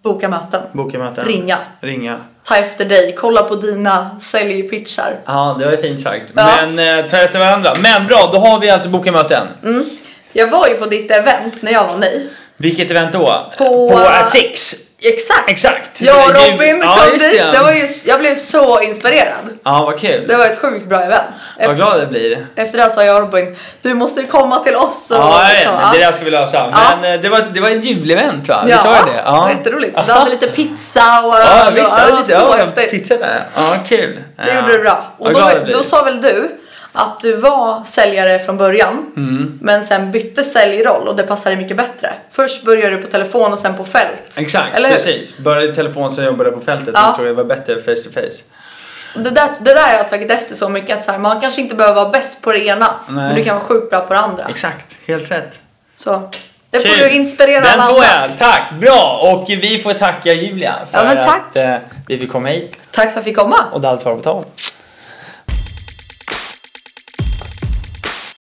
[SPEAKER 3] Boka möten.
[SPEAKER 2] Boka möten?
[SPEAKER 3] Ringa.
[SPEAKER 2] Ringa.
[SPEAKER 3] Ta efter dig. Kolla på dina säljpitchar.
[SPEAKER 2] Ja, det var ju fint sagt.
[SPEAKER 3] Ja.
[SPEAKER 2] Men eh, ta efter varandra. Men bra, då har vi alltså boka möten.
[SPEAKER 3] Mm. Jag var ju på ditt event när jag var ny.
[SPEAKER 2] Vilket event då?
[SPEAKER 3] På-
[SPEAKER 2] på Atix.
[SPEAKER 3] Exakt!
[SPEAKER 2] Exakt!
[SPEAKER 3] Jag och
[SPEAKER 2] Det är ju-
[SPEAKER 3] Robin
[SPEAKER 2] ja,
[SPEAKER 3] kom
[SPEAKER 2] just
[SPEAKER 3] dit. Det var ju, jag blev så inspirerad.
[SPEAKER 2] Ja, vad kul.
[SPEAKER 3] Det var ett sjukt bra event. Efter,
[SPEAKER 2] Vad glad jag blir.
[SPEAKER 3] efter det sa jag och Robin, du måste ju komma till oss. Och liksom,
[SPEAKER 2] Ja, jag vet.
[SPEAKER 3] Ja.
[SPEAKER 2] Det där ska vi lösa.
[SPEAKER 3] Ja.
[SPEAKER 2] Men eh, det var, det var ett julevent va? Vi sa ju det?
[SPEAKER 3] det var jätteroligt.
[SPEAKER 2] [laughs]
[SPEAKER 3] Du hade lite pizza och
[SPEAKER 2] Ja,
[SPEAKER 3] öl och-
[SPEAKER 2] visst. Ja, lite
[SPEAKER 3] så
[SPEAKER 2] ja,
[SPEAKER 3] häftigt.
[SPEAKER 2] pizza där. Ja, kul.
[SPEAKER 3] Det
[SPEAKER 2] ja.
[SPEAKER 3] gjorde du bra. Och
[SPEAKER 2] Vad
[SPEAKER 3] då,
[SPEAKER 2] glad jag blir.
[SPEAKER 3] då sa väl du att du var säljare från början
[SPEAKER 2] Mm.
[SPEAKER 3] men sen bytte säljroll och det passade mycket bättre. Först började du på telefon och sen på fält.
[SPEAKER 2] Exakt,
[SPEAKER 3] Eller hur?
[SPEAKER 2] precis. Började i telefon sen jobbade jag på fältet.
[SPEAKER 3] Ja.
[SPEAKER 2] Jag tror det var bättre face to face.
[SPEAKER 3] Det där, det där har jag tagit efter så mycket att så här, man kanske inte behöver vara bäst på det ena
[SPEAKER 2] Nej.
[SPEAKER 3] men du kan vara sjukt bra på det andra.
[SPEAKER 2] Exakt, helt rätt.
[SPEAKER 3] Så det får
[SPEAKER 2] Kul.
[SPEAKER 3] du inspirera
[SPEAKER 2] Den
[SPEAKER 3] alla
[SPEAKER 2] får
[SPEAKER 3] andra.
[SPEAKER 2] jag, tack! Bra! Och vi får tacka Julia för
[SPEAKER 3] Ja, men tack.
[SPEAKER 2] att eh, vi fick komma hit
[SPEAKER 3] Tack för att jag fick komma.
[SPEAKER 2] och dansa på tal.